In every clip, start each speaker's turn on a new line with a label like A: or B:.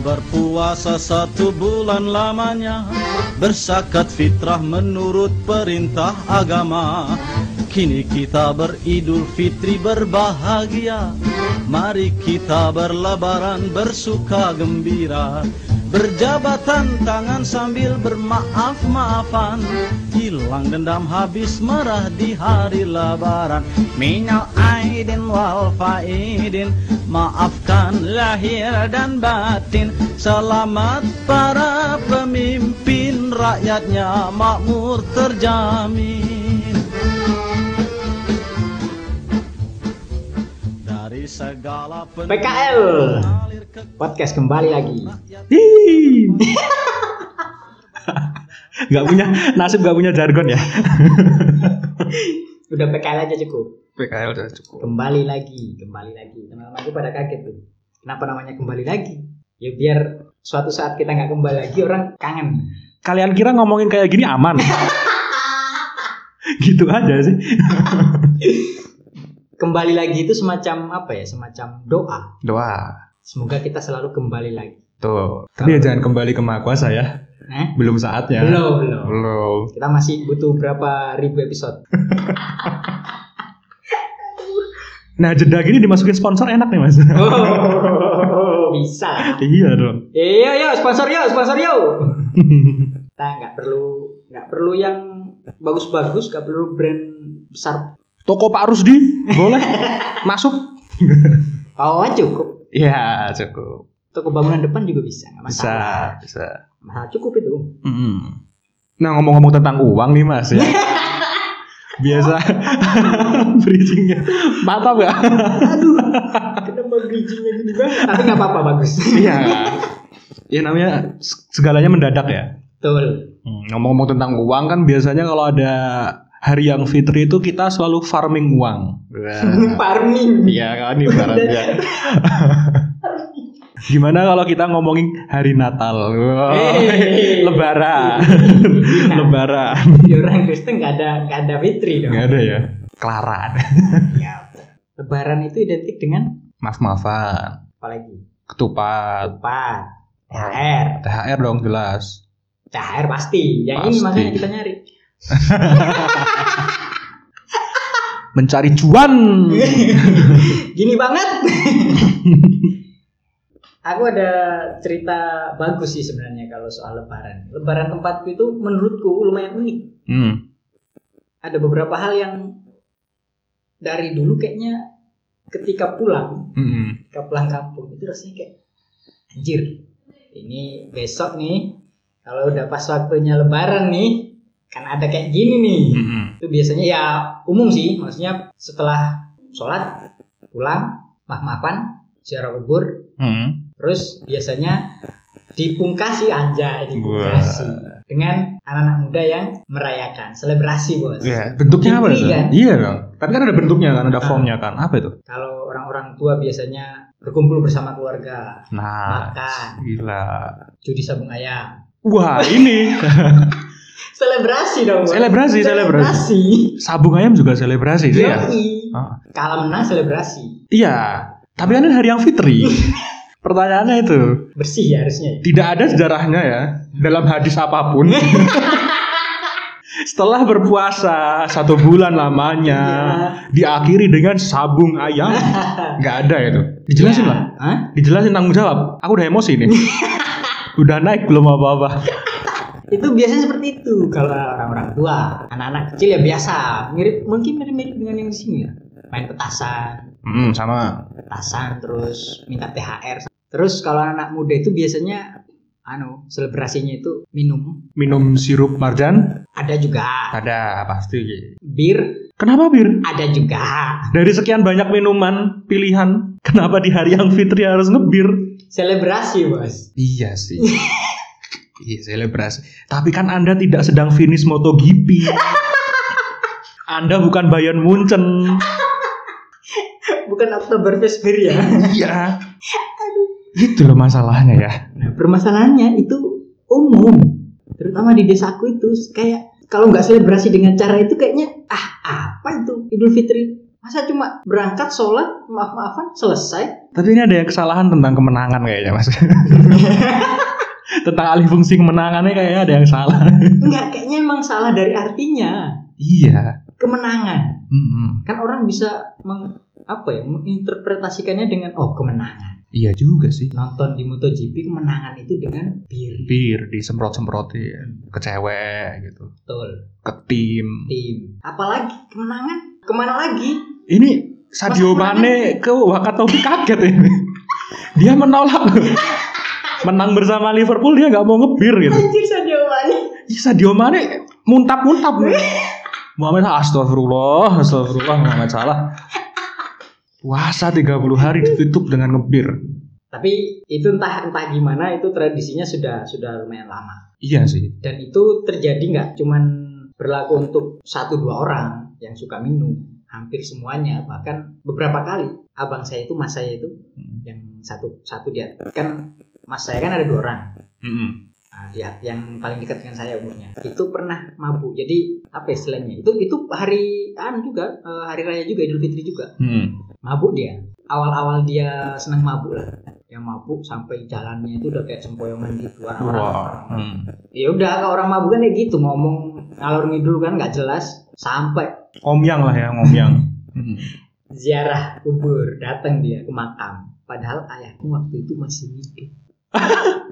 A: Puasa satu bulan lamanya Bersakat fitrah menurut perintah agama Kini kita beridul fitri berbahagia Mari kita berlebaran bersuka gembira Berjabatan tangan sambil bermaaf-maafan Hilang dendam habis merah di hari lebaran Minal aidin wal faidin Maafkan lahir dan batin Selamat para pemimpin Rakyatnya makmur terjamin Dari segala pen-
B: PKL.
A: mengalir ke
B: Podcast kembali lagi.
A: rakyat
C: Ih. nggak punya nasib nggak punya jargon ya
B: Udah PKL aja cukup.
C: PKL udah cukup
B: Kembali lagi, kembali lagi. Teman-teman aku pada kaget tuh. Kenapa namanya kembali lagi? Ya biar suatu saat kita nggak kembali lagi orang kangen.
C: kalian kira ngomongin kayak gini aman gitu aja sih
B: Kembali lagi itu semacam apa ya? Semacam doa.
C: doa
B: Semoga kita selalu kembali lagi.
C: tuh tapi ya jangan kembali ke maha kuasa ya
B: Hah?
C: belum saatnya
B: Belum, belum.
C: belum
B: Kita masih butuh berapa ribu episode.
C: nah jeda gini dimasukin sponsor enak nih mas
B: Oh, Bisa.
C: iya dong
B: Iya, yo, sponsor yo, sponsor yo. Kita nggak perlu, nggak perlu yang bagus-bagus, nggak perlu brand besar.
C: toko Pak Rusdi boleh masuk
B: Oh, cukup.
C: ya cukup
B: Toko bangunan depan juga bisa, nggak masalah.
C: bisa
B: Masalah cukup itu.
A: Hmm.
C: Mm. Nah ngomong-ngomong tentang uang nih mas ya Biasa Bridgingnya Mantap gak?
B: Kenapa bijinya gini banget? Tapi nggak apa-apa, bagus.
C: Iya Ya namanya segalanya mendadak ya
B: Betul.
C: Hmm, Ngomong-ngomong tentang uang kan biasanya kalau ada hari yang fitri itu kita selalu farming uang
B: Farming.
C: Iya kan ibaratnya Gimana kalau kita ngomongin hari Natal Wow.
B: Hey.
C: Lebaran Lebaran
B: Nah, Di orang Kristen nggak ada, nggak ada fitri dong.
C: Gak ada ya Kelaran
B: Ya. Lebaran itu identik dengan
C: Maaf-maafan
B: apalagi?
C: ketupat
B: Empat. THR.
C: THR dong jelas
B: THR pasti. Yang ini
C: Pasti.
B: makanya kita nyari.
C: mencari cuan
B: Gini banget. Aku ada cerita bagus sih sebenarnya kalau soal lebaran. Lebaran tempatku itu menurutku lumayan unik.
C: hmm.
B: Ada beberapa hal yang dari dulu kayaknya ketika pulang,
C: Mm-mm.
B: ketika pulang kampung itu rasanya kayak anjir. Ini besok nih kalau udah pas waktunya lebaran nih kan ada kayak gini nih.
C: Mm-mm.
B: itu biasanya ya umum sih maksudnya setelah sholat pulang mah mapan ziarah kubur
C: Mm.
B: terus biasanya dipungkasi anjay dipungkasi dengan anak-anak muda yang merayakan selebrasi bos
C: Iya, bentuknya apa
B: Fitri
C: itu?
B: Ya, kan?
C: Iya dong. Tapi kan ada bentuknya kan, ada
B: Ah.
C: formnya kan. Apa itu?
B: kalau orang-orang tua biasanya berkumpul bersama keluarga
C: Nah,
B: Makan.
C: gila.
B: judi sabung ayam
C: Wah, ini
B: selebrasi dong bos.
C: Selebrasi, selebrasi. sabung ayam juga selebrasi sih ya.
B: Yoi.
C: Ah.
B: kalah menang selebrasi
C: Iya. Tapi kan ini hari yang fitri. Pertanyaannya itu,
B: bersih ya harusnya
C: tidak ada sejarahnya ya dalam hadis apapun. Setelah berpuasa satu bulan lamanya diakhiri dengan sabung ayam, nggak ada itu. Dijelasin
B: Ya.
C: lah,
B: Hah?
C: dijelasin tanggung jawab. Aku udah emosi nih. udah naik belum apa-apa.
B: itu biasanya seperti itu kalau orang-orang tua anak-anak kecil ya biasa mirip mungkin mirip-mirip dengan yang di sini ya main petasan
C: Hmm, sama.
B: petasan terus minta THR terus kalau anak muda itu biasanya anu selebrasinya itu minum
C: Minum sirup marjan
B: ada juga
C: ada pasti.
B: bir
C: Kenapa bir?
B: ada juga
C: Dari sekian banyak minuman pilihan, kenapa di hari yang fitri harus ngebir?
B: selebrasi bos
C: Iya sih. iya selebrasi. Tapi kan Anda tidak sedang finish MotoGP. Anda bukan Bayern Munchen.
B: bukan Oktoberfest bir ya
C: Iya. Itu loh masalahnya ya.
B: nah permasalahannya itu umum terutama di desaku itu kayak kalau nggak selebrasi dengan cara itu kayaknya ah apa itu Idul Fitri Masa cuma berangkat sholat, maaf-maafan, selesai?
C: Tapi ini ada yang kesalahan tentang kemenangan kayaknya mas. tentang alih fungsi kemenangannya kayaknya ada yang salah.
B: Enggak, kayaknya emang salah dari artinya.
C: iya.
B: Kemenangan.
C: Mm-mm.
B: Kan orang bisa meng, apa ya, menginterpretasikannya dengan, oh kemenangan.
C: Iya juga sih.
B: Nonton di MotoGP, kemenangan itu dengan bir.
C: Bir disemprot-semprotin ke cewek gitu,
B: Betul.
C: ke tim.
B: Tim. Apalagi kemenangan? Kemana lagi?
C: Ini Sadio
B: Mas,
C: Mane ke Wakatobi kaget ini. dia menolak. Menang bersama Liverpool dia nggak mau ngebir gitu.
B: Anjir Sadio Mane.
C: Ih, Sadio Mane muntap-muntap. Muhammad Salah, astagfirullah, astagfirullah Muhammad Salah. Puasa 30 hari ditutup dengan ngebir.
B: Tapi itu entah entah gimana itu tradisinya sudah sudah lumayan lama.
C: Iya sih.
B: dan itu terjadi nggak cuman berlaku untuk satu dua orang yang suka minum hampir semuanya bahkan beberapa kali abang saya itu mas saya itu yang satu satu dia kan mas saya kan ada dua orang Nah, dia yang paling dekat dengan saya umurnya itu pernah mabuk jadi apa istilahnya itu itu hari an juga eh, hari raya juga idul fitri juga
C: Hmm.
B: mabuk dia awal-awal dia senang mabuk lah yang mabuk sampai jalannya itu udah kayak sempoyongan gitu
C: Wah.
B: orang-orang
C: Hmm.
B: ya udah kalau orang mabuk kan kayak gitu ngomong ngalor ngidul kan nggak jelas sampai
C: Omyang lah ya, ngomyang. Hmm.
B: ziarah kubur datang dia ke makam padahal ayahku waktu itu masih hidup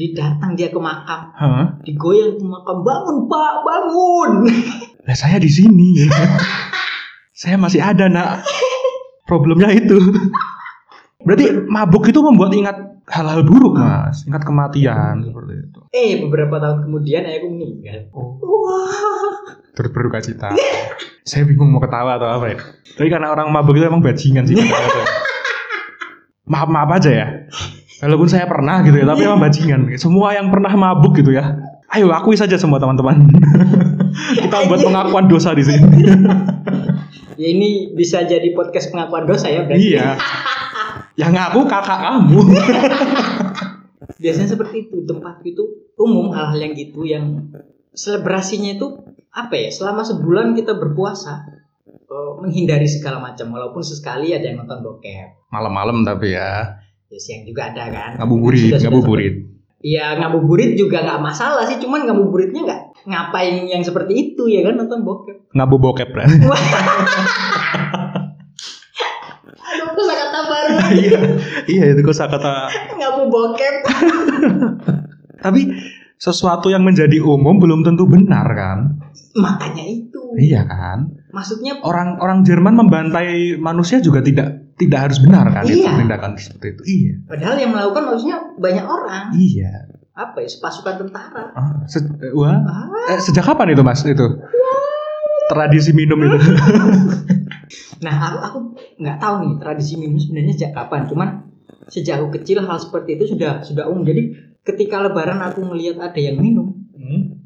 B: didatang dia ke makam
C: Hah?
B: digoyang ke makam bangun pak bangun
C: Lah saya di sini. saya masih ada, Nak. Problemnya itu. Berarti mabuk itu membuat ingat hal-hal buruk, Mas. Ingat kematian seperti itu.
B: eh beberapa tahun kemudian ayahku meninggal wah
C: Turut berduka cita. saya bingung mau ketawa atau apa ya. Tapi karena orang mabuk itu emang bajingan sih. maaf maaf aja ya. Walaupun saya pernah gitu ya, tapi emang bajingan. Semua yang pernah mabuk gitu ya. Ayo akui saja semua teman-teman. Kita buat pengakuan dosa di sini.
B: ya ini bisa jadi podcast pengakuan dosa ya berarti
C: Iya. Yang ngaku kakak kamu.
B: biasanya seperti itu tempat itu umum hal-hal yang gitu yang selebrasinya itu apa ya selama sebulan kita berpuasa eh, menghindari segala macam walaupun sesekali ada yang nonton bokep
C: Malam-malam tapi ya.
B: ya siang juga ada kan
C: Ngabuburit,
B: Sudah- sudah
C: ngabuburit.
B: ya ngabuburit juga nggak masalah sih cuman ngabuburitnya nggak ngapain yang seperti itu ya kan nonton bokep
C: Ngabu bokep lah.
B: aduh aku salah kata baru
C: Iya. Iya itu kosakata.
B: ngabu bokep
C: Tapi sesuatu yang menjadi umum belum tentu benar kan?
B: makanya itu
C: Iya kan?
B: maksudnya
C: Orang orang Jerman membantai manusia juga tidak tidak harus benar kan itu
B: Iya.
C: tindakan seperti itu. Iya.
B: padahal yang melakukan maksudnya banyak orang
C: Iya.
B: apa ya pasukan tentara
C: Ah, se- eh, wah.
B: Ah.
C: Eh, sejak kapan itu Mas itu? Tradisi minum itu.
B: Nah, aku aku nggak tahu nih tradisi minum sebenarnya sejak kapan. Cuman sejak aku kecil hal seperti itu sudah sudah umum. Jadi ketika Lebaran aku melihat ada yang minum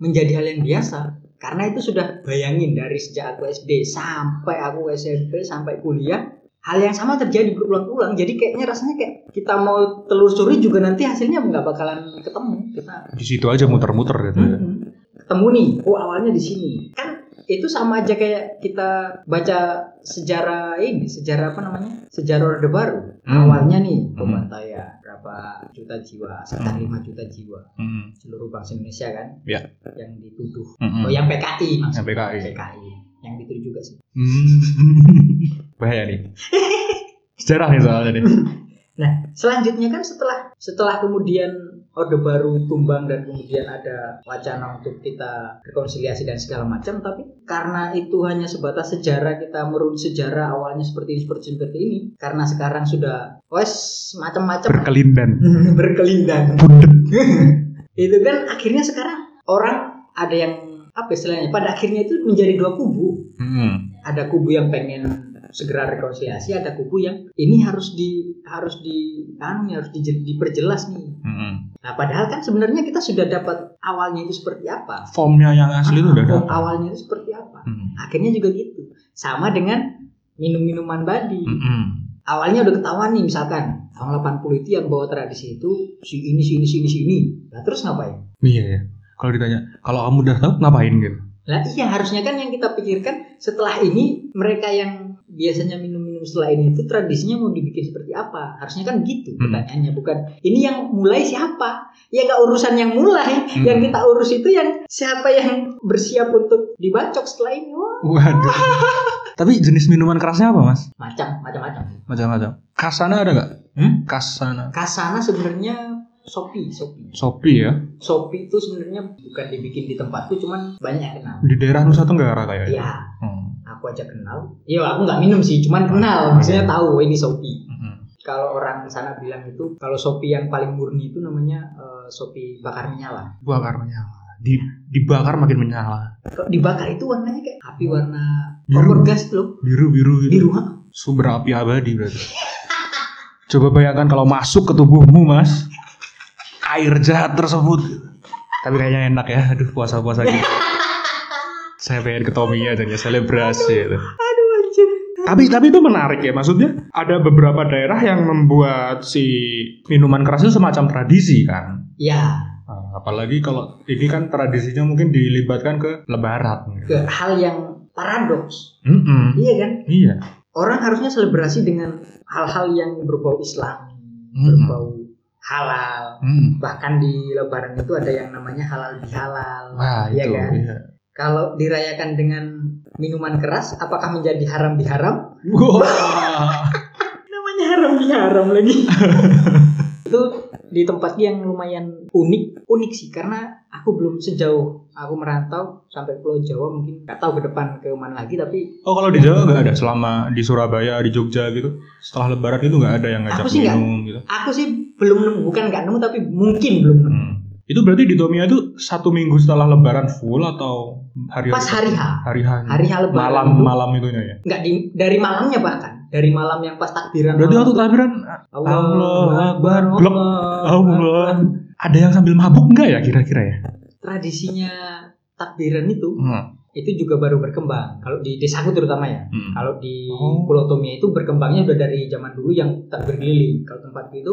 B: menjadi hal yang biasa. Karena itu sudah bayangin dari sejak aku SD sampai aku SMP sampai kuliah hal yang sama terjadi berulang-ulang. Jadi kayaknya rasanya kayak kita mau telusuri juga nanti hasilnya nggak bakalan ketemu. Kita
C: Di situ aja muter-muter gitu. ya.
B: Mhm. ketemu nih oh awalnya di sini kan itu sama aja kayak kita baca sejarah ini sejarah apa namanya sejarah orde baru
C: Hmm.
B: awalnya nih pembantaian berapa juta jiwa sekitar 5 juta jiwa
C: Hmm.
B: seluruh bangsa Indonesia kan
C: Mm-hmm. Ya.
B: yang dituduh
C: Mm-mm.
B: oh yang PKI
C: Yang
B: maksudnya
C: PKI.
B: yang dituduh juga sih
C: Hmm. Bahaya nih. Sejarah nih soalnya nih.
B: nah selanjutnya kan setelah setelah kemudian Orde Baru tumbang dan kemudian ada wacana untuk kita rekonsiliasi dan segala macam tapi karena itu hanya sebatas sejarah kita merunut sejarah awalnya seperti ini seperti ini, seperti ini karena sekarang sudah wes macam-macam
C: Berkelindan.
B: berkelindan
C: Bundet.
B: itu kan akhirnya sekarang orang ada yang apa istilahnya pada akhirnya itu menjadi dua kubu
C: Hmm.
B: ada kubu yang pengen segera rekonsiliasi ada kubu yang ini harus di harus di anu nih, harus dije- diperjelas nih
C: Hmm.
B: nah padahal kan sebenarnya kita sudah dapat awalnya itu seperti apa
C: Formnya yang asli itu udah
B: Form
C: dapat.
B: awalnya itu seperti apa
C: Hmm.
B: akhirnya juga gitu sama dengan minum minuman badi
C: Mm-mm.
B: awalnya udah ketahuan nih misalkan tahun 80 itu yang bawa tradisi itu si ini si ini si ini si ini nah terus ngapain
C: Iya ya. Kalau ditanya, kalau kamu udah tahu ngapain gitu?
B: Lah iya harusnya kan yang kita pikirkan setelah ini mereka yang biasanya minum-minum setelah ini itu tradisinya mau dibikin seperti apa? Harusnya kan gitu
C: Hmm.
B: pertanyaannya bukan ini yang mulai siapa? Ya nggak urusan yang mulai,
C: Hmm.
B: yang kita urus itu yang siapa yang bersiap untuk dibacok setelah ini. Wah,
C: Waduh. Tapi jenis minuman kerasnya apa, Mas?
B: macam macam-macam.
C: Macam-macam. Kasana ada nggak?
B: Hmm?
C: Kasana.
B: Kasana sebenarnya Shopee, Shopee.
C: Sopi ya.
B: Shopee itu sebenarnya bukan dibikin di tempatku cuman banyak yang kenal.
C: Di daerah Nusa Tenggara kayaknya.
B: Ya,
C: Hmm.
B: aku aja kenal. Iya, aku nggak minum sih, cuman kenal. Maksudnya
C: Iya.
B: tahu "Oh, ini Shopee.
C: Mhm.
B: Kalau orang sana bilang itu, kalau Shopee yang paling murni itu namanya eh, Shopee bakar menyala.
C: Bakar menyala. Di dibakar makin menyala.
B: Kalau dibakar itu warnanya kayak api
C: Hmm.
B: warna
C: Biru.
B: kompor gas loh,
C: Biru-biru gitu.
B: biru. ha?
C: Sumber api abadi berarti. Coba bayangkan kalau masuk ke tubuhmu, Mas. Air jahat tersebut. Tapi kayaknya enak ya. Aduh, puasa-puasa gitu. Saya pengen ke Tomia dan ya selebrasi itu.
B: Aduh anjir.
C: Tapi tapi itu menarik ya maksudnya ada beberapa daerah yang membuat si minuman keras itu semacam tradisi kan.
B: Ya,
C: Nah, Apalagi kalau ini kan tradisinya mungkin dilibatkan ke lebaran.
B: ke hal yang paradoks.
C: Mm-mm.
B: Iya kan?
C: Iya.
B: Orang harusnya selebrasi dengan hal-hal yang berbau Islam,
C: Mm-mm.
B: berbau halal.
C: Mm.
B: Bahkan di Lebaran itu ada yang namanya halal bihalal.
C: Wah
B: Iya
C: itu.
B: kan?
C: iya.
B: Kalau dirayakan dengan minuman keras, apakah menjadi haram biharam?
C: Wah.
B: namanya haram diharam lagi itu di tempat yang lumayan unik unik sih karena aku belum sejauh aku merantau sampai pulau Jawa mungkin nggak tahu ke depan ke mana lagi tapi
C: Oh kalau di Jawa nggak ada selama di Surabaya di Jogja gitu setelah Lebaran itu nggak ada yang ngajak
B: Aku sih nggak.
C: minum gitu.
B: aku sih belum nemu bukan nggak nemu tapi mungkin belum nemu
C: Hmm. Itu berarti di Tomia itu satu minggu setelah Lebaran full atau hari
B: pas hari H
C: hari hari
B: hari H lebaran
C: malam
B: itu
C: malam itunya ya.
B: nggak di dari malamnya bahkan dari malam yang pas takbiran
C: Berarti
B: malam.
C: waktu takbiran Allahu Akbar, Glok.
B: Akbar.
C: Allah ada yang sambil mabuk nggak ya kira-kira ya?
B: tradisinya takbiran itu
C: Hmm.
B: itu juga baru berkembang kalau di desaku terutama ya
C: Hmm.
B: Kalau di
C: Oh.
B: Pulau Tomia itu berkembangnya udah dari zaman dulu yang tak berkeliling. Kalau tempat itu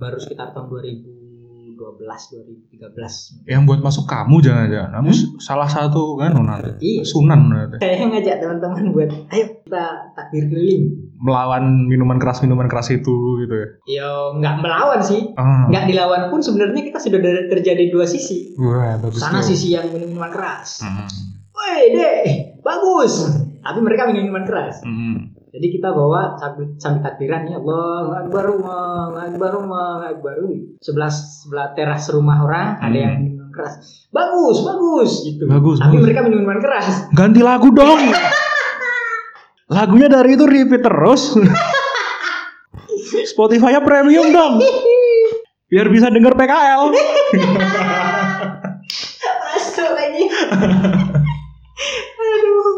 B: baru sekitar tahun 2012 2013.
C: Yang buat masuk kamu jangan-jangan. Kamu s- salah satu kan oh, nanti.
B: Hmm? Iya.
C: Sunan nanti.
B: Saya ngajak teman-teman buat ayo kita takbir keliling.
C: Melawan minuman keras minuman keras itu gitu ya.
B: Yo nggak melawan sih.
C: Ah.
B: Nggak dilawan pun sebenarnya kita sudah dari- terjadi dua sisi.
C: Wah, bagus.
B: Sana
C: tuh.
B: sisi yang minum minuman keras.
C: Hmm.
B: Woi deh, bagus. Tapi mereka minum minuman keras.
C: Hmm.
B: Jadi kita bawa sambil, sambil takbiran ya Allah Akbar Allah Akbar Allah Akbar sebelah sebelah teras rumah orang ada
C: Hmm.
B: yang minuman keras bagus bagus gitu
C: Bagus,
B: tapi
C: bagus.
B: mereka minuman keras
C: Ganti lagu dong. Lagunya dari itu repeat terus. Spotify-nya premium dong. Biar bisa denger PKL.
B: masuk lagi aduh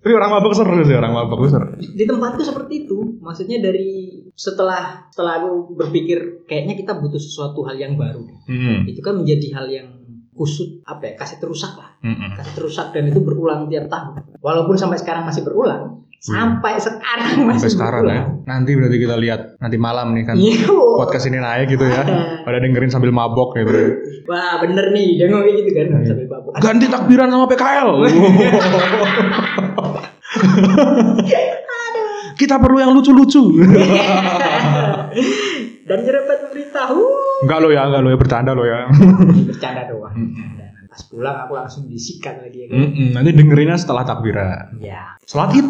C: Tapi orang mabuk seru sih, orang mabuk seru.
B: di tempatku seperti itu maksudnya dari setelah setelah aku berpikir kayaknya kita butuh sesuatu hal yang baru
C: Hmm.
B: itu kan menjadi hal yang kusut apa ya kaset rusak lah
C: Mm-mm.
B: kasus rusak dan itu berulang tiap tahun. Walaupun sampai sekarang masih berulang, sampai sekarang masih
C: Hmm. Sampai sekarang ya.
B: berulang.
C: Nanti berarti kita lihat nanti malam nih kan
B: Iya.
C: podcast ini naik gitu ya. Pada dengerin sambil mabok gitu.
B: Wah bener nih, dia ngomong kayak gitu kan
C: Hmm.
B: sampai babak.
C: Ganti takbiran sama PKL. kita perlu yang lucu-lucu.
B: Dan jerepet memberitahu.
C: Enggak lo ya, enggak lo ya bercanda lo ya.
B: Bercanda doang.
C: Hmm.
B: Dan Pas pulang aku langsung disikat lagi ya. kan.
C: Mm-mm, nanti dengerinnya setelah takbiran.
B: Ya,
C: Iya Sholat id.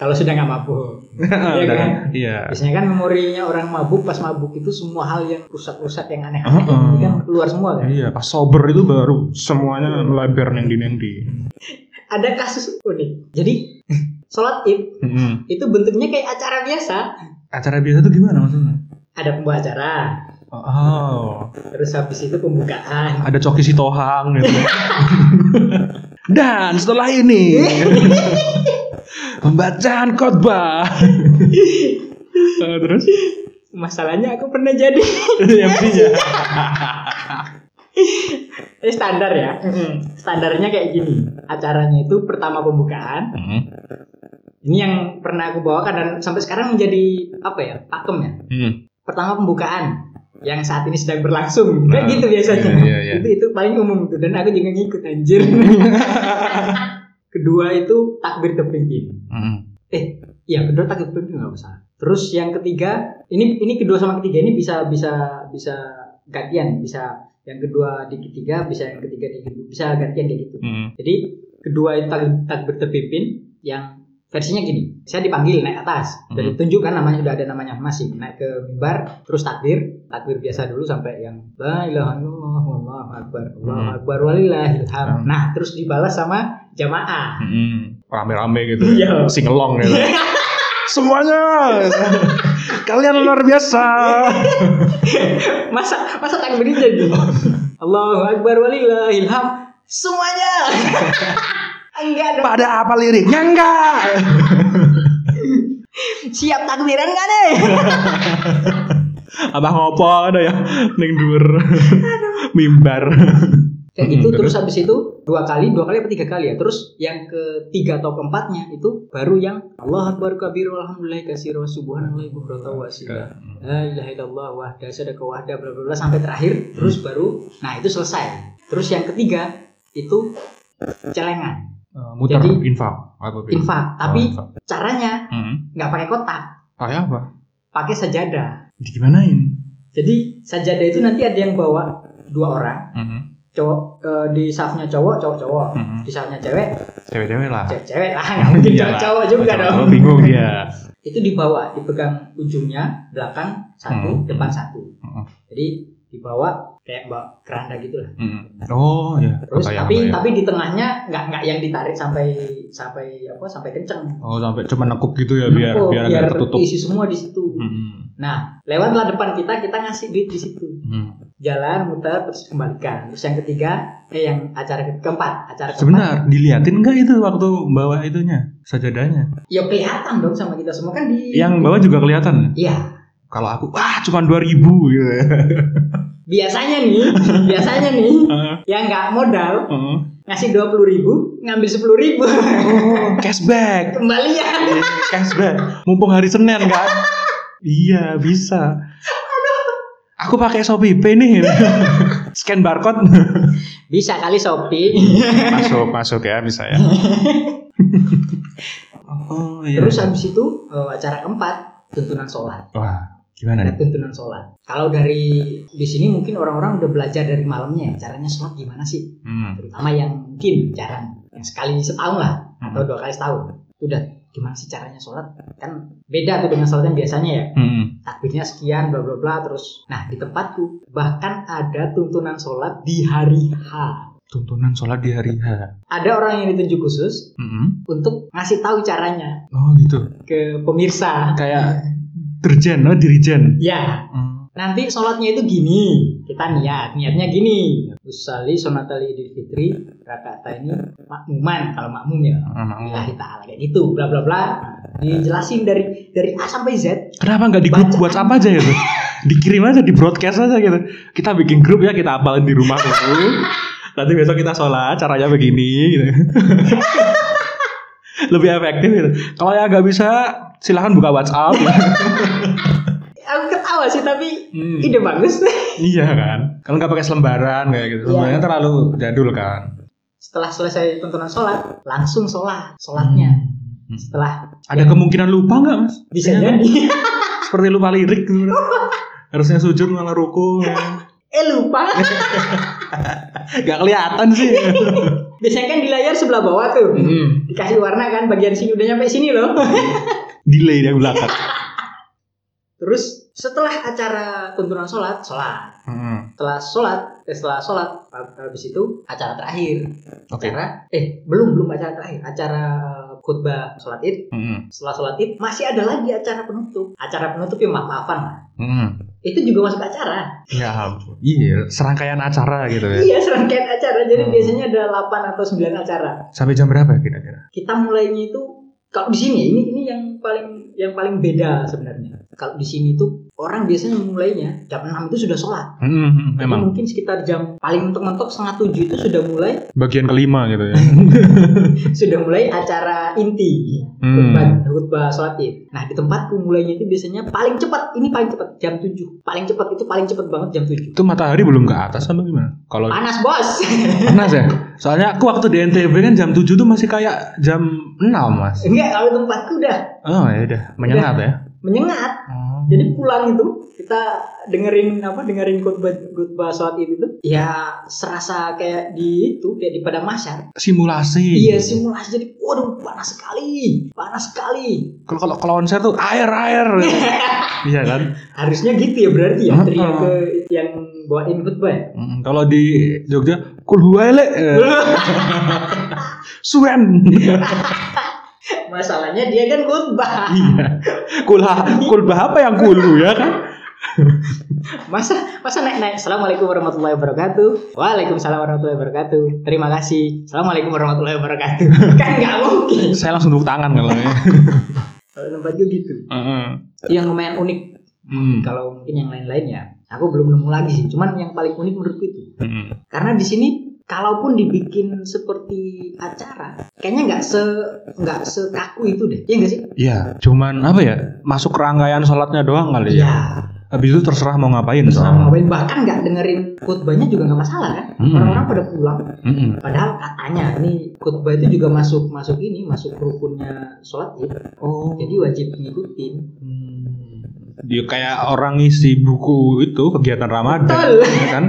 B: kalau sudah nggak mabuk. Iya
C: Dan-
B: kan?
C: Iya.
B: Biasanya kan memorinya orang mabuk pas mabuk itu semua hal yang rusak-rusak yang aneh-aneh
C: Heeh.
B: ini kan keluar semua kan.
C: Iya, pas sober itu baru semuanya melebar nendi-nendi.
B: Ada kasus unik. Jadi
C: Hmm.
B: sholat id
C: Mm-mm.
B: itu bentuknya kayak acara biasa.
C: Acara biasa tuh gimana maksudnya?
B: Ada pembawa acara,
C: Oh,
B: Terus habis itu pembukaan.
C: ada coki sitohang gitu. Dan setelah ini pembacaan khotbah. Eh, terus
B: Masalahnya aku pernah jadi
C: MC-nya.
B: Eh, standar ya. Standarnya kayak gini. Acaranya itu pertama pembukaan.
C: Mm.
B: Ini yang pernah aku bawakan dan sampai sekarang menjadi apa ya? Pakem ya.
C: Mm.
B: Pertama pembukaan. yang saat ini sedang berlangsung kayak
C: Nah,
B: gitu biasanya
C: iya, iya, iya.
B: itu itu paling umum tuh dan aku juga ngikut anjir kedua itu takbir terpimpin
C: Mm.
B: eh iya kedua takbir terpimpin nggak masalah terus yang ketiga ini ini kedua sama ketiga ini bisa bisa bisa gantian bisa yang kedua di ketiga bisa yang ketiga di kedua bisa gantian kayak gitu
C: Mm.
B: jadi kedua itu tak- takbir terpimpin yang versinya gini. Saya dipanggil naik atas. Dan
C: Hmm.
B: ditunjukkan namanya sudah ada namanya masih naik ke mimbar terus takbir, takbir biasa dulu sampai yang la ilaha illallah wallahu akbar Allahu
C: Hmm.
B: akbar walillahil hamd.
C: Hmm.
B: Nah, terus dibalas sama jamaah.
C: Mm. Rame-rame gitu.
B: Iya.
C: Singelong gitu. Semuanya kalian luar biasa.
B: masa masa takbirnya jadi Allahu akbar walillahil hamd. Semuanya. Enggak dong.
C: Pada apa liriknya enggak?
B: Siap takbiran enggak deh?
C: Abah ngopo ada ya ning dhuwur. Mimbar.
B: Kayak
C: Mm-mm,
B: gitu
C: Hmm, terus?
B: terus habis itu dua kali, dua kali apa tiga kali ya. Terus yang ketiga atau keempatnya itu baru yang Allah Akbar kabir alhamdulillah kasir wa subhanallahi bukrata wa asila. La ilaha illallah wahda sadaka wahda bla bla bla sampai terakhir terus
C: Hmm.
B: baru nah itu selesai. Terus yang ketiga itu celengan,
C: Eh, muter
B: Jadi-
C: infak apa beda?
B: infak,
C: Oh,
B: tapi
C: infak.
B: caranya
C: Mm.
B: nggak pakai kotak,
C: Kayak Ah, ya, apa?
B: pakai sajadah.
C: Digimanain?
B: Jadi sajadah itu nanti ada yang bawa dua orang,
C: Mm.
B: cowok eh, di safnya cowok, cowok-cowok,
C: Mm.
B: di safnya cewek,
C: Cewek-cewek lah.
B: cewek-cewek lah nggak mungkin
C: Iyalah.
B: cowok-cowok juga dong
C: Cowok Iya, bingung iya. dia.
B: itu dibawa dipegang ujungnya belakang satu
C: Hmm.
B: depan satu
C: Hmm.
B: jadi dibawa kayak bawa keranda gitu lah
C: Mm. Oh ya.
B: terus
C: Kebayang,
B: tapi
C: kebayang.
B: tapi di tengahnya nggak nggak yang ditarik sampai sampai apa sampai kenceng
C: Oh sampai cuma nekuk gitu ya biar
B: Nempel,
C: biar agak tertutup.
B: isi semua di situ
C: Mm.
B: nah lewatlah depan kita kita ngasih duit di situ
C: Mm.
B: jalan muter terus kembalikan terus yang ketiga eh yang acara ke- keempat acara keempat
C: Sebentar, diliatin enggak itu waktu bawa itunya, sajadahnya?
B: ya kelihatan dong sama kita semua kan di
C: Yang bawa juga kelihatan.
B: iya
C: Kalau aku, wah cuma 2000 gitu ya.
B: biasanya nih biasanya nih
C: Heeh.
B: yang nggak modal
C: Heeh.
B: ngasih dua puluh ribu ngambil sepuluh ribu ya.
C: Oh, cashback.
B: kembalian
C: Iya, cashback. Mumpung hari Senin kan. iya, bisa. Aku pakai Shopee Pay nih. Scan barcode.
B: bisa kali shopee
C: masuk, masuk ya bisa ya. oh iya.
B: terus habis itu eh, acara keempat tuntunan sholat
C: wah, gimana
B: ada
C: nih?
B: tuntunan sholat kalau dari di sini mungkin orang-orang udah belajar dari malamnya ya, caranya sholat gimana sih
C: Hmm.
B: terutama yang mungkin jarang yang sekali setahun lah atau dua kali setahun udah gimana sih caranya sholat kan beda tuh dengan sholat yang biasanya ya
C: Hmm.
B: takbirnya sekian bla bla bla terus nah di tempatku bahkan ada tuntunan sholat di hari H
C: Tuntunan sholat di hari H.
B: ada orang yang ditunjuk khusus
C: Hmm.
B: untuk ngasih tahu caranya
C: Oh gitu.
B: ke pemirsa
C: kayak dirjen oh dirjen
B: ya
C: Hmm.
B: nanti sholatnya itu gini kita niat niatnya gini usali sonatali idul fitri rakaat ini makmuman kalau makmum ya
C: Emang.
B: Lillahi ta'ala kayak gitu bla bla bla dijelasin dari dari A sampai Z
C: kenapa nggak di grup
B: Baca.
C: WhatsApp aja ya tuh dikirim aja di broadcast aja gitu kita bikin grup ya kita apalin di rumah dulu nanti besok kita sholat caranya begini gitu lebih efektif gitu kalau yang nggak bisa silahkan buka WhatsApp
B: aku ketawa sih tapi
C: Hmm.
B: ide bagus
C: iya kan kalau nggak pakai selembaran kayak gitu
B: Iya.
C: selembarannya terlalu jadul kan
B: setelah selesai tuntunan sholat langsung sholat sholatnya
C: Hmm.
B: setelah kan
C: ada kemungkinan lupa nggak mas
B: bisa
C: Iya,
B: jadi
C: seperti lupa lirik gitu. harusnya sujud malah ruku ya.
B: eh lupa
C: Gak kelihatan sih.
B: biasanya kan di layar sebelah bawah tuh
C: Hmm.
B: dikasih warna kan bagian sini udah nyampe sini loh
C: Delay dia belakang.
B: terus setelah acara tuntunan sholat sholat
C: Hmm.
B: setelah sholat eh, setelah sholat habis itu acara terakhir
C: Oke.
B: acara eh belum belum acara terakhir acara eh, khutbah sholat id
C: Mm-mm.
B: setelah sholat id masih ada lagi acara penutup acara penutup yang maaf maafan lah
C: Mm-mm.
B: itu juga masuk acara
C: Ya ampun. Iya, serangkaian acara gitu ya.
B: iya serangkaian acara jadi
C: Hmm.
B: biasanya ada 8 atau 9 acara
C: Sampai jam berapa ya kira-kira?
B: kita mulainya itu kalau di sini ini ini yang paling yang paling beda sebenarnya. Kalau di sini tuh orang biasanya mulainya jam 6 itu sudah sholat.
C: Hmm,
B: Tapi
C: memang
B: mungkin sekitar jam paling mentok-mentok setengah tujuh itu sudah mulai
C: bagian kelima gitu ya.
B: sudah mulai acara inti
C: Hmm.
B: khutbah khutbah sholat id. Nah di tempatku mulainya itu biasanya paling cepat ini paling cepat jam 7 paling cepat itu paling cepat banget jam 7
C: Itu matahari belum ke atas atau gimana? Kalau
B: panas bos
C: panas ya. Soalnya aku waktu di NTB kan jam 7 tuh masih kayak jam 6, Mas.
B: enggak kalau tempatku udah
C: Oh, ya udah, menyengat ya.
B: menyengat
C: Oh.
B: jadi pulang itu kita dengerin apa dengerin khutbah khutbah sholat id itu ya serasa kayak di itu kayak di pada masyar
C: simulasi.
B: iya simulasi jadi waduh panas sekali panas sekali
C: Kalau kalau kalau konser tuh air air. iya kan?
B: harusnya gitu ya berarti ya
C: Heeh.
B: teriak ke yang bawain khutbah ya
C: Mm, Kalau di Jogja kul huwaile. Suen.
B: Masalahnya dia kan khutbah.
C: Iya. Kulha kulbah apa yang kulu ya kan?
B: Masa masa naik naik. Assalamualaikum warahmatullahi wabarakatuh. Waalaikumsalam warahmatullahi wabarakatuh. Terima kasih. Assalamualaikum warahmatullahi wabarakatuh. kan nggak mungkin.
C: Saya langsung tepuk tangan kalau ya.
B: Kalau tempat gue gitu.
C: Heeh.
B: Itu yang lumayan unik.
C: Hmm.
B: Kalau mungkin yang lain lain ya. Aku belum nemu lagi sih. Cuman yang paling unik menurutku itu.
C: Hmm.
B: Karena di sini kalaupun dibikin seperti acara, kayaknya nggak se nggak sekaku itu deh. Iya nggak sih?
C: Iya, cuman apa ya? Masuk rangkaian sholatnya doang kali ya.
B: Iya.
C: Habis itu terserah mau ngapain.
B: Terus
C: soalnya.
B: ngapain bahkan nggak dengerin khutbahnya juga nggak masalah kan?
C: Hmm.
B: Orang-orang pada pulang.
C: Mm-mm.
B: Padahal katanya ini khutbah itu juga masuk masuk ini masuk rukunnya sholat ya.
C: Oh.
B: Jadi wajib ngikutin.
C: Dia kayak orang isi buku itu kegiatan Ramadan
B: Betul.
C: ya kan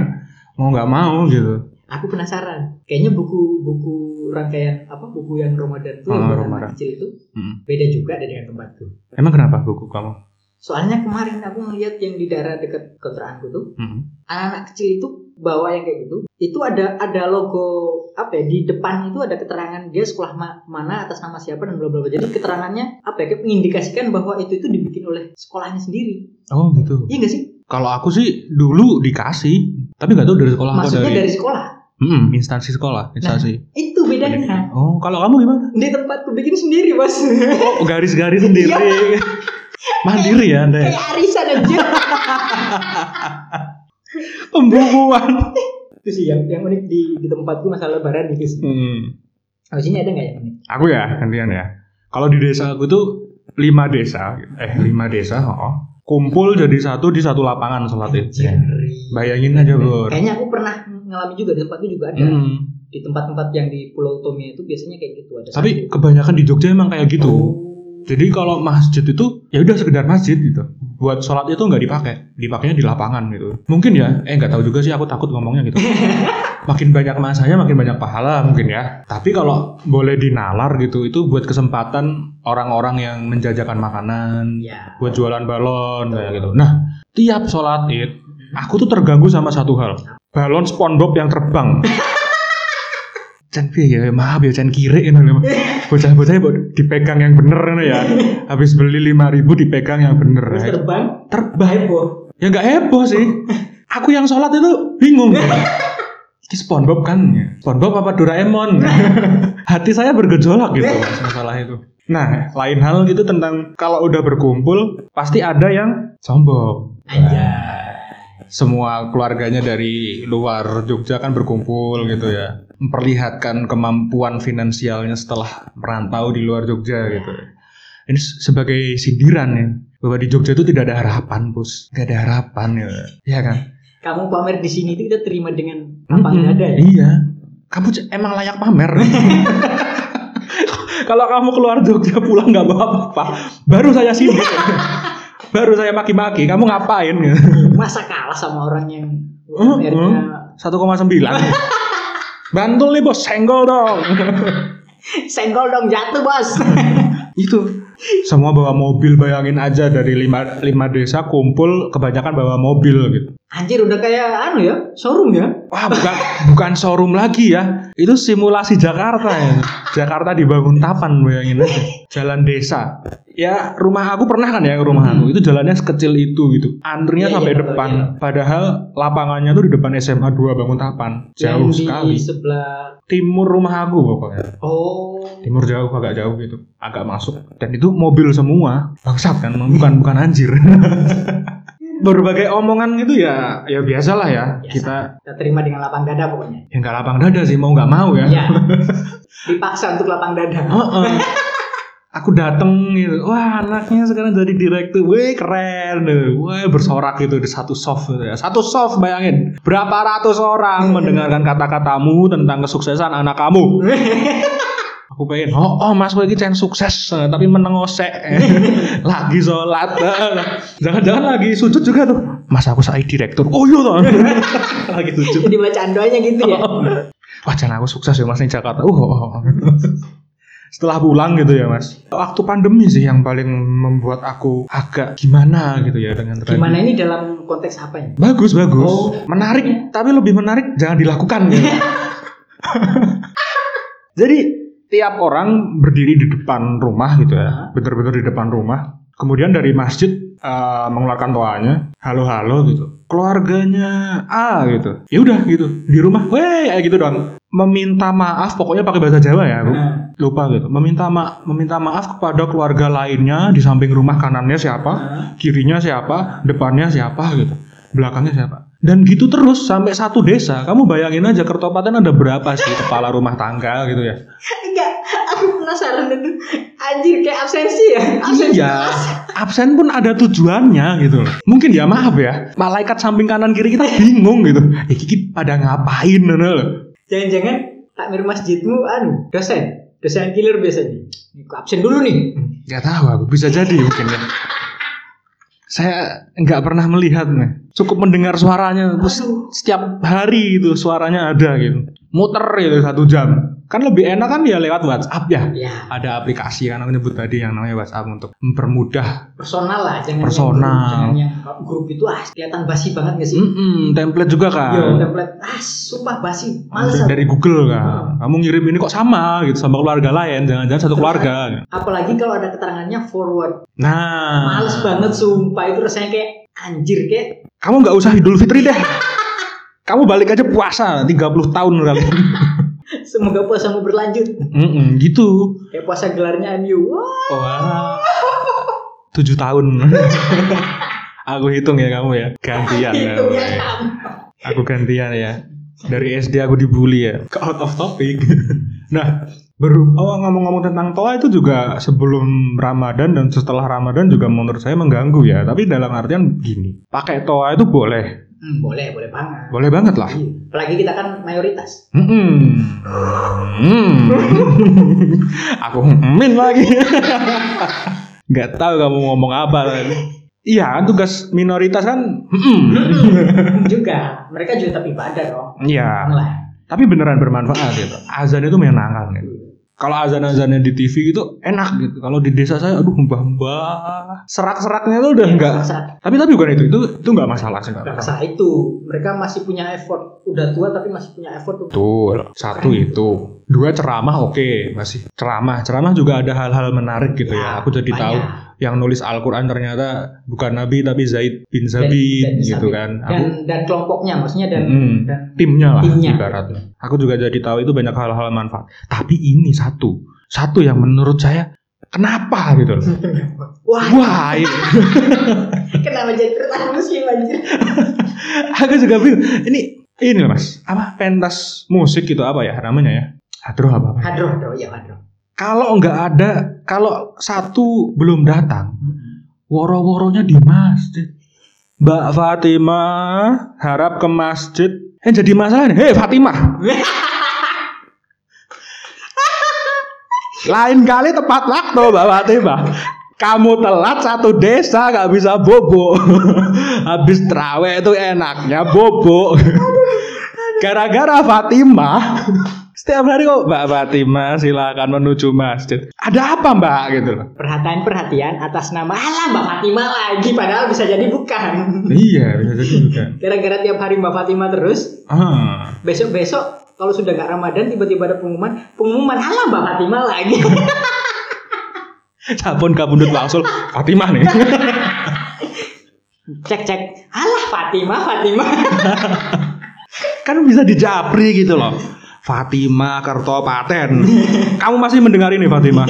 C: mau nggak mau gitu.
B: Aku penasaran. Kayaknya buku-buku rangkaian apa buku yang Ramadan tuh
C: Oh,
B: yang buat
C: Ramadan.
B: anak kecil itu
C: Mm.
B: beda juga dengan tempatku.
C: Emang kenapa buku kamu?
B: Soalnya kemarin aku ngeliat yang di daerah dekat kontraanku tuh
C: Mm.
B: anak-anak kecil itu bawa yang kayak gitu. Itu ada ada logo apa ya di depan itu ada keterangan dia sekolah ma- mana atas nama siapa dan bla bla bla. Jadi keterangannya apa ya kayak mengindikasikan bahwa itu itu dibikin oleh sekolahnya sendiri.
C: Oh gitu.
B: Iya nggak sih?
C: Kalau aku sih dulu dikasih, tapi nggak tahu dari sekolah apa
B: Masuknya
C: dari, Nah.
B: dari sekolah.
C: Mm-mm, instansi sekolah, instansi.
B: Itu bedanya.
C: Oh, kalau kamu gimana?
B: Di tempatku bikin sendiri, Mas.
C: Oh, garis-garis sendiri. Mandiri ya Anda. ya?
B: Kayak arisan aja.
C: Pembukuan.
B: itu sih yang yang unik di di tempatku masa lebaran itu sih.
C: Mm.
B: Di sini ada nggak yang unik?
C: Aku ya gantian ya. Kalau di desa aku tuh lima desa, eh lima desa, oh, kumpul jadi satu di satu lapangan sholat id.
B: Anjir.
C: Ya. Bayangin aja bor.
B: Kayaknya aku pernah ngalami juga di tempatku juga ada.
C: Mm.
B: Di tempat-tempat yang di Pulau Tomia itu biasanya kayak gitu ada.
C: Tapi
B: satu.
C: kebanyakan di Jogja emang kayak gitu.
B: Oh.
C: Jadi kalau masjid itu ya udah sekedar masjid gitu. Buat sholat itu nggak dipakai, dipakainya di lapangan gitu. Mungkin ya, eh nggak tahu juga sih aku takut ngomongnya gitu. makin banyak masanya makin banyak pahala mungkin ya. Tapi kalau boleh dinalar gitu itu buat kesempatan orang-orang yang menjajakan makanan,
B: Ya.
C: buat jualan balon kayak gitu. Nah, tiap sholat id, aku tuh terganggu sama satu hal. Balon SpongeBob yang terbang. Can piye ya, maaf ya can kire ini lho. Bocah-bocahnya bo- dipegang yang bener ini ya. Habis beli 5000 dipegang yang bener.
B: Terus
C: ya.
B: terbang
C: Terbang.
B: heboh.
C: Ya nggak heboh sih. Aku yang sholat itu bingung. Ini SpongeBob kan? SpongeBob apa Doraemon? Hati saya bergejolak gitu mas, masalah itu. Nah, lain hal gitu tentang kalau udah berkumpul pasti ada yang sombong. Nah,
B: Anjay.
C: Semua keluarganya dari luar Jogja kan berkumpul gitu ya, memperlihatkan kemampuan finansialnya setelah merantau di luar Jogja gitu. Ini se- sebagai sindiran ya bahwa di Jogja itu tidak ada harapan, bos. Tidak ada harapan ya, ya kan?
B: Kamu pamer di sini itu kita terima dengan lapang
C: Mm-mm,
B: dada ya.
C: Iya. Kamu c- emang layak pamer. Kalau kamu keluar Jogja pulang nggak bawa apa-apa, baru saya sini. baru saya maki-maki, kamu ngapain?
B: Masa kalah sama orang yang
C: Mm-mm.
B: pamernya
C: 1,9. Bantul nih bos, senggol dong.
B: senggol dong jatuh, Bos.
C: Itu. Semua bawa mobil, bayangin aja dari lima, lima desa kumpul, kebanyakan bawa mobil gitu.
B: Anjir udah kayak anu ya, showroom ya.
C: Wah bukan bukan showroom lagi ya, itu simulasi Jakarta ya. Jakarta dibangun tapan bayangin aja. Jalan desa, ya rumah aku pernah kan ya ke rumah aku itu jalannya sekecil itu gitu antrinya
B: Hmm. Iya,
C: sampai
B: iya,
C: depan
B: iya.
C: padahal lapangannya tuh di depan SMA 2 Banguntapan
B: Yang
C: jauh
B: di
C: sekali
B: sebelah
C: timur rumah aku pokoknya
B: oh
C: timur jauh agak jauh gitu agak masuk dan itu mobil semua bangsat kan bukan bukan anjir berbagai omongan gitu ya ya biasalah ya
B: Biasa.
C: kita
B: kita terima dengan lapang dada pokoknya
C: ya nggak lapang dada sih mau nggak mau ya
B: ya dipaksa untuk lapang dada
C: Heeh. aku dateng gitu wah anaknya sekarang jadi direktur wih keren wih bersorak gitu di satu soft gitu ya satu soft bayangin berapa ratus orang mendengarkan kata-katamu tentang kesuksesan anak kamu aku pengen oh, oh mas gue ini pengen sukses eh, tapi menengosek lagi sholat eh. jangan-jangan lagi sujud juga tuh mas aku saya direktur oh iya toh lagi sujud
B: jadi bacaan doanya gitu ya
C: Oh. wah jangan aku sukses ya mas di Jakarta uh, oh, oh. setelah pulang gitu ya mas waktu pandemi sih yang paling membuat aku agak gimana gitu ya dengan tren
B: gimana ini dalam konteks apa ya
C: bagus bagus
B: Oh.
C: menarik tapi lebih menarik jangan dilakukan gitu. jadi tiap orang berdiri di depan rumah gitu ya bener-bener di depan rumah kemudian dari masjid eh, mengeluarkan toanya halo-halo gitu keluarganya A gitu ya udah gitu di rumah weh kayak gitu doang meminta maaf pokoknya pakai bahasa Jawa ya aku
B: Nah,
C: lupa gitu meminta ma meminta maaf kepada keluarga lainnya di samping rumah kanannya siapa
B: nah.
C: kirinya siapa depannya siapa gitu belakangnya siapa dan gitu terus sampai satu desa kamu bayangin aja kertopaten ada berapa sih kepala rumah tangga gitu ya
B: enggak aku penasaran itu anjir kayak absensi ya absensi
C: iya
B: kelas.
C: absen pun ada tujuannya gitu loh mungkin ya maaf ya malaikat samping kanan kiri kita bingung gitu ya kiki pada ngapain gitu loh
B: jangan-jangan takmir masjidmu anu dosen dosen killer biasanya Ini aku absen dulu nih
C: nggak tahu aku bisa jadi mungkin ya saya nggak pernah melihat nih cukup mendengar suaranya terus
B: Aduh.
C: setiap hari itu suaranya ada gitu muter itu satu jam kan lebih enak kan ya lewat WhatsApp ya
B: ya
C: ada aplikasi kan aku nyebut tadi yang namanya WhatsApp untuk mempermudah
B: personal lah jangan yang
C: Personal.
B: grup, jangan yang grup itu ah kelihatan basi banget gak sih
C: Mm-mm, template juga kan
B: Yo, template ah sumpah basi males
C: dari Google kan kamu ngirim ini kok sama gitu sama keluarga lain jangan-jangan satu keluarga
B: apalagi kalau ada keterangannya forward
C: nah
B: males banget sumpah itu rasanya kayak anjir kayak
C: kamu nggak usah Idul Fitri deh kamu balik aja puasa 30 tahun kali
B: semoga puasamu berlanjut
C: Mm-mm, gitu
B: kayak puasa gelarnya MU Wah,
C: wah tujuh tahun aku hitung ya kamu ya gantian ya.
B: itu ya sama.
C: aku gantian ya dari SD aku dibully ya ke out of topic nah baru oh ngomong-ngomong tentang toa itu juga sebelum Ramadan dan setelah Ramadan juga menurut saya mengganggu ya tapi dalam artian gini pakai toa itu boleh
B: Hmm, boleh boleh banget
C: boleh banget lah
B: Iya. apalagi kita kan mayoritas
C: Mm-mm. Mm. Aku min lagi. Gak tahu kamu ngomong apa tadi. Iya, kan tugas minoritas kan. mm-mm.
B: juga mereka juga tetap ibadah dong
C: Iya,
B: lah
C: tapi beneran bermanfaat gitu. Azan itu menyenangkan gitu. Kalau azan-azannya di TV gitu enak gitu. Kalau di desa saya aduh mbah-mbah. Serak-seraknya tuh udah Iya, enggak.
B: Masa-
C: Tapi tapi bukan itu. Itu itu enggak masalah sih, enggak
B: Bangsa
C: masalah.
B: itu mereka masih punya effort udah tua tapi masih punya effort tuh
C: Betul. Satu itu. Dua ceramah oke, masih ceramah. Ceramah juga ada hal-hal menarik gitu ya. Aku jadi tahu yang nulis Al-Qur'an ternyata bukan Nabi tapi Zaid bin Sabit gitu kan.
B: dan
C: Aku
B: dan kelompoknya maksudnya dan
C: Mm-mm.
B: dan
C: Hmm, timnya lah
B: timnya.
C: ibaratnya. Aku juga jadi tahu itu banyak hal-hal manfaat. Tapi ini satu, satu yang menurut saya kenapa gitu loh.
B: wah
C: Wah, ini-
B: kenapa jadi kertas muslim anjir
C: aku juga bingung. Ini ini loh, Mas. Apa pentas musik gitu apa ya namanya ya? Hadroh apa? apa ya?
B: hadroh hadroh ya hadroh
C: Kalau nggak ada, kalau satu belum datang,
B: Hmm.
C: Woro-woronya di masjid. Mbak Fatimah harap ke masjid. Eh jadi masalah nih. Hei Fatimah. Lain kali tepat waktu Mbak Fatimah. Kamu telat satu desa gak bisa bobo. Habis traweh itu enaknya bobo. Gara-gara Fatimah. Setiap hari kok Mbak Fatimah silakan menuju masjid. Ada apa Mbak gitu loh.
B: perhatian perhatian atas nama Allah Mbak Fatimah lagi padahal bisa jadi bukan
C: Iya bisa jadi juga.
B: gara-gara tiap hari Mbak Fatimah terus
C: Ah,
B: besok besok kalau sudah nggak Ramadan tiba-tiba ada pengumuman pengumuman Allah Mbak Fatimah lagi
C: Sabun kabundut wangsul Fatimah nih.
B: Cek cek. Alah Fatimah, Fatimah.
C: kan bisa dijapri gitu loh. Fatima Kertopaten. Kamu masih mendengar ini Fatima.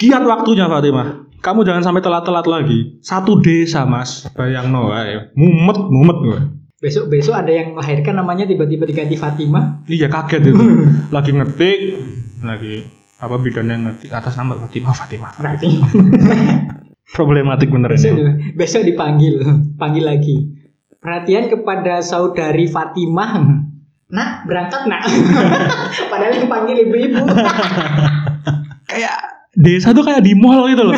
C: Giat waktunya Fatima. Kamu jangan sampai telat-telat lagi. Satu desa mas. Bayang no, mumet mumet gue.
B: Besok besok ada yang melahirkan namanya tiba-tiba diganti Fatimah.
C: Iya kaget itu. Lagi ngetik, lagi apa bidannya ngetik atas nama Fatima Oh, Fatima.
B: Berarti
C: Problematik bener
B: besok,
C: ini.
B: besok dipanggil, panggil lagi. Perhatian kepada saudari Fatimah. Nak, berangkat nak. Padahal yang panggil ibu-ibu.
C: Kayak desa tuh kayak di mall gitu loh.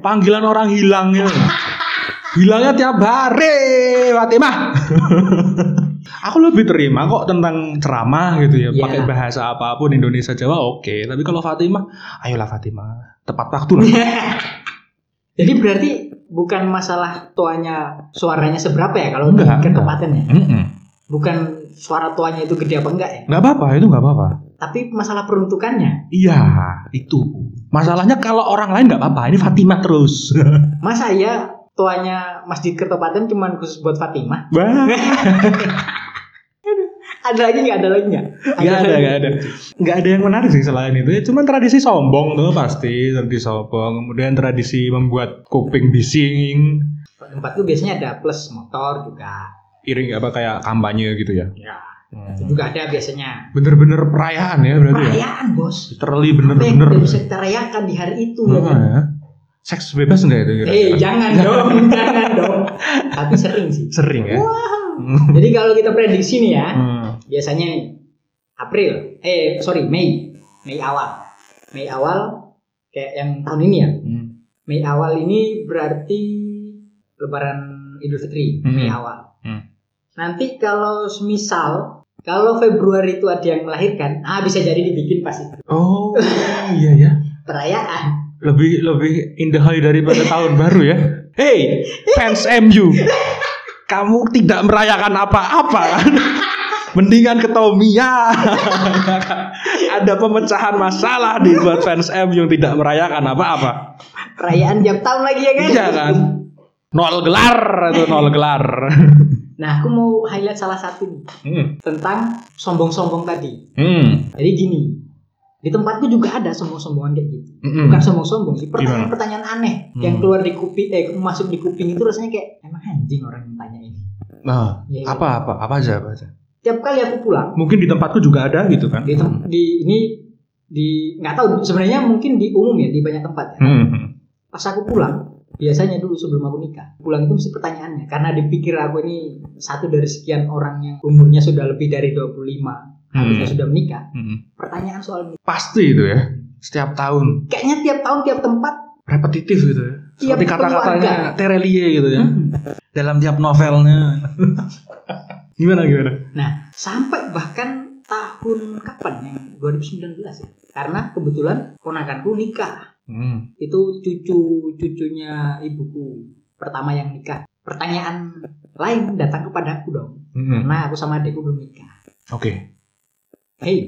C: Panggilan orang hilang gitu. Hilangnya tiap hari, Fatimah. Aku lebih terima kok tentang ceramah gitu ya,
B: Iya.
C: pakai bahasa apapun Indonesia Jawa oke, tapi kalau Fatimah, ayolah Fatimah, tepat waktu lah.
B: Jadi berarti bukan masalah tuanya suaranya seberapa ya kalau untuk
C: Enggak, enggak.
B: ketepatan ya.
C: Mm-mm.
B: Bukan suara tuanya itu gede apa enggak ya.
C: Nggak apa-apa, itu nggak apa-apa.
B: Tapi masalah peruntukannya.
C: Iya, itu. Masalahnya kalau orang lain nggak apa-apa, ini Fatimah terus.
B: Masa ya tuanya Masjid Kertopaten cuman khusus buat Fatimah?
C: Wah,
B: Ada lagi nggak ada lagi nggak?
C: nggak ada,
B: lagi?
C: nggak ada. Nggak ada yang menarik sih selain itu. Ya, cuman tradisi sombong tuh pasti, tradisi sombong. Kemudian tradisi membuat kuping bising,
B: Tempatku biasanya ada plus motor juga.
C: iring apa kayak kampanye gitu ya.
B: Ya, itu
C: Hmm.
B: juga ada biasanya.
C: Bener-bener perayaan ya berarti ya.
B: Perayaan bos.
C: Literally
B: Apa yang
C: bener-bener.
B: kita bisa kita rayakan di hari itu? ya
C: Heeh,
B: kan?
C: ya. Seks bebas nggak itu?
B: Eh,
C: kira-kira?
B: jangan dong, jangan dong. Tapi sering sih.
C: Sering ya. Hmm.
B: Jadi kalau kita prediksi nih ya,
C: Hmm.
B: biasanya nih April, eh sorry Mei, Mei awal, Mei awal kayak yang tahun ini ya.
C: Hmm.
B: Mei awal ini berarti Lebaran Idul Fitri,
C: Hmm.
B: Mei awal.
C: Hmm.
B: Nanti kalau semisal kalau Februari itu ada yang melahirkan, ah bisa jadi dibikin pasti
C: Oh, iya ya.
B: perayaan.
C: lebih lebih indahai daripada tahun baru ya. Hey, fans MU. Kamu tidak merayakan apa-apa kan? Mendingan ketomia. Ada pemecahan masalah di buat fans MU yang tidak merayakan apa-apa.
B: Perayaan tiap tahun lagi ya kan?
C: Iya kan? Nol gelar itu nol gelar.
B: Nah, aku mau highlight salah satu nih,
C: Hmm.
B: tentang sombong-sombong tadi.
C: Hmm.
B: Jadi gini, di tempatku juga ada sombong-sombongan kayak gitu.
C: Mm-mm.
B: Bukan sombong-sombong sih,
C: Hmm. Gimana?
B: pertanyaan-pertanyaan aneh
C: Hmm.
B: yang keluar di kuping, eh masuk di kuping itu rasanya kayak emang anjing orang yang tanya ini.
C: Nah,
B: Iya, iya.
C: apa apa apa aja apa aja.
B: Tiap kali aku pulang
C: Mungkin di tempatku juga ada gitu kan.
B: di, tem- di ini di nggak tahu sebenarnya mungkin di umum ya di banyak tempat ya.
C: Hmm.
B: Pas aku pulang biasanya dulu sebelum aku nikah pulang itu mesti pertanyaannya karena dipikir aku ini satu dari sekian orang yang umurnya sudah lebih dari 25 harusnya
C: Hmm.
B: sudah menikah
C: Hmm.
B: pertanyaan soal menikah.
C: Pasti itu ya. Setiap tahun
B: kayaknya tiap tahun tiap tempat
C: repetitif gitu ya.
B: Tiap
C: Seperti kata-katanya
B: keluarga.
C: Terelie gitu ya.
B: Hmm?
C: Dalam tiap novelnya. gimana gimana?
B: Nah, sampai bahkan tahun kapan yang 2019 ya? Karena kebetulan ponakanku nikah.
C: Hmm.
B: Itu cucu-cucunya ibuku pertama yang nikah. Pertanyaan lain datang kepada aku dong.
C: Hmm.
B: Karena aku sama adikku belum nikah.
C: Oke.
B: Hei,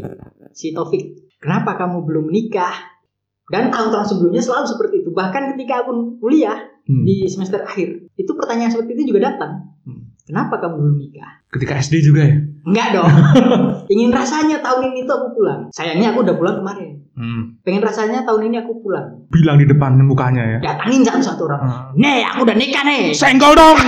B: si Taufik, kenapa kamu belum nikah? Dan tahun-tahun sebelumnya selalu seperti itu. Bahkan ketika aku kuliah
C: Hmm.
B: di semester akhir, itu pertanyaan seperti itu juga datang.
C: Hmm.
B: Kenapa kamu belum nikah?
C: Ketika SD juga ya.
B: Enggak dong. Ingin rasanya tahun ini tuh aku pulang. Sayangnya aku udah pulang kemarin.
C: Hmm.
B: Pengen rasanya tahun ini aku pulang.
C: Bilang di depan mukanya ya.
B: Datangin satu-satu orang.
C: Hmm.
B: Nih, aku udah nikah nih.
C: Senggol dong.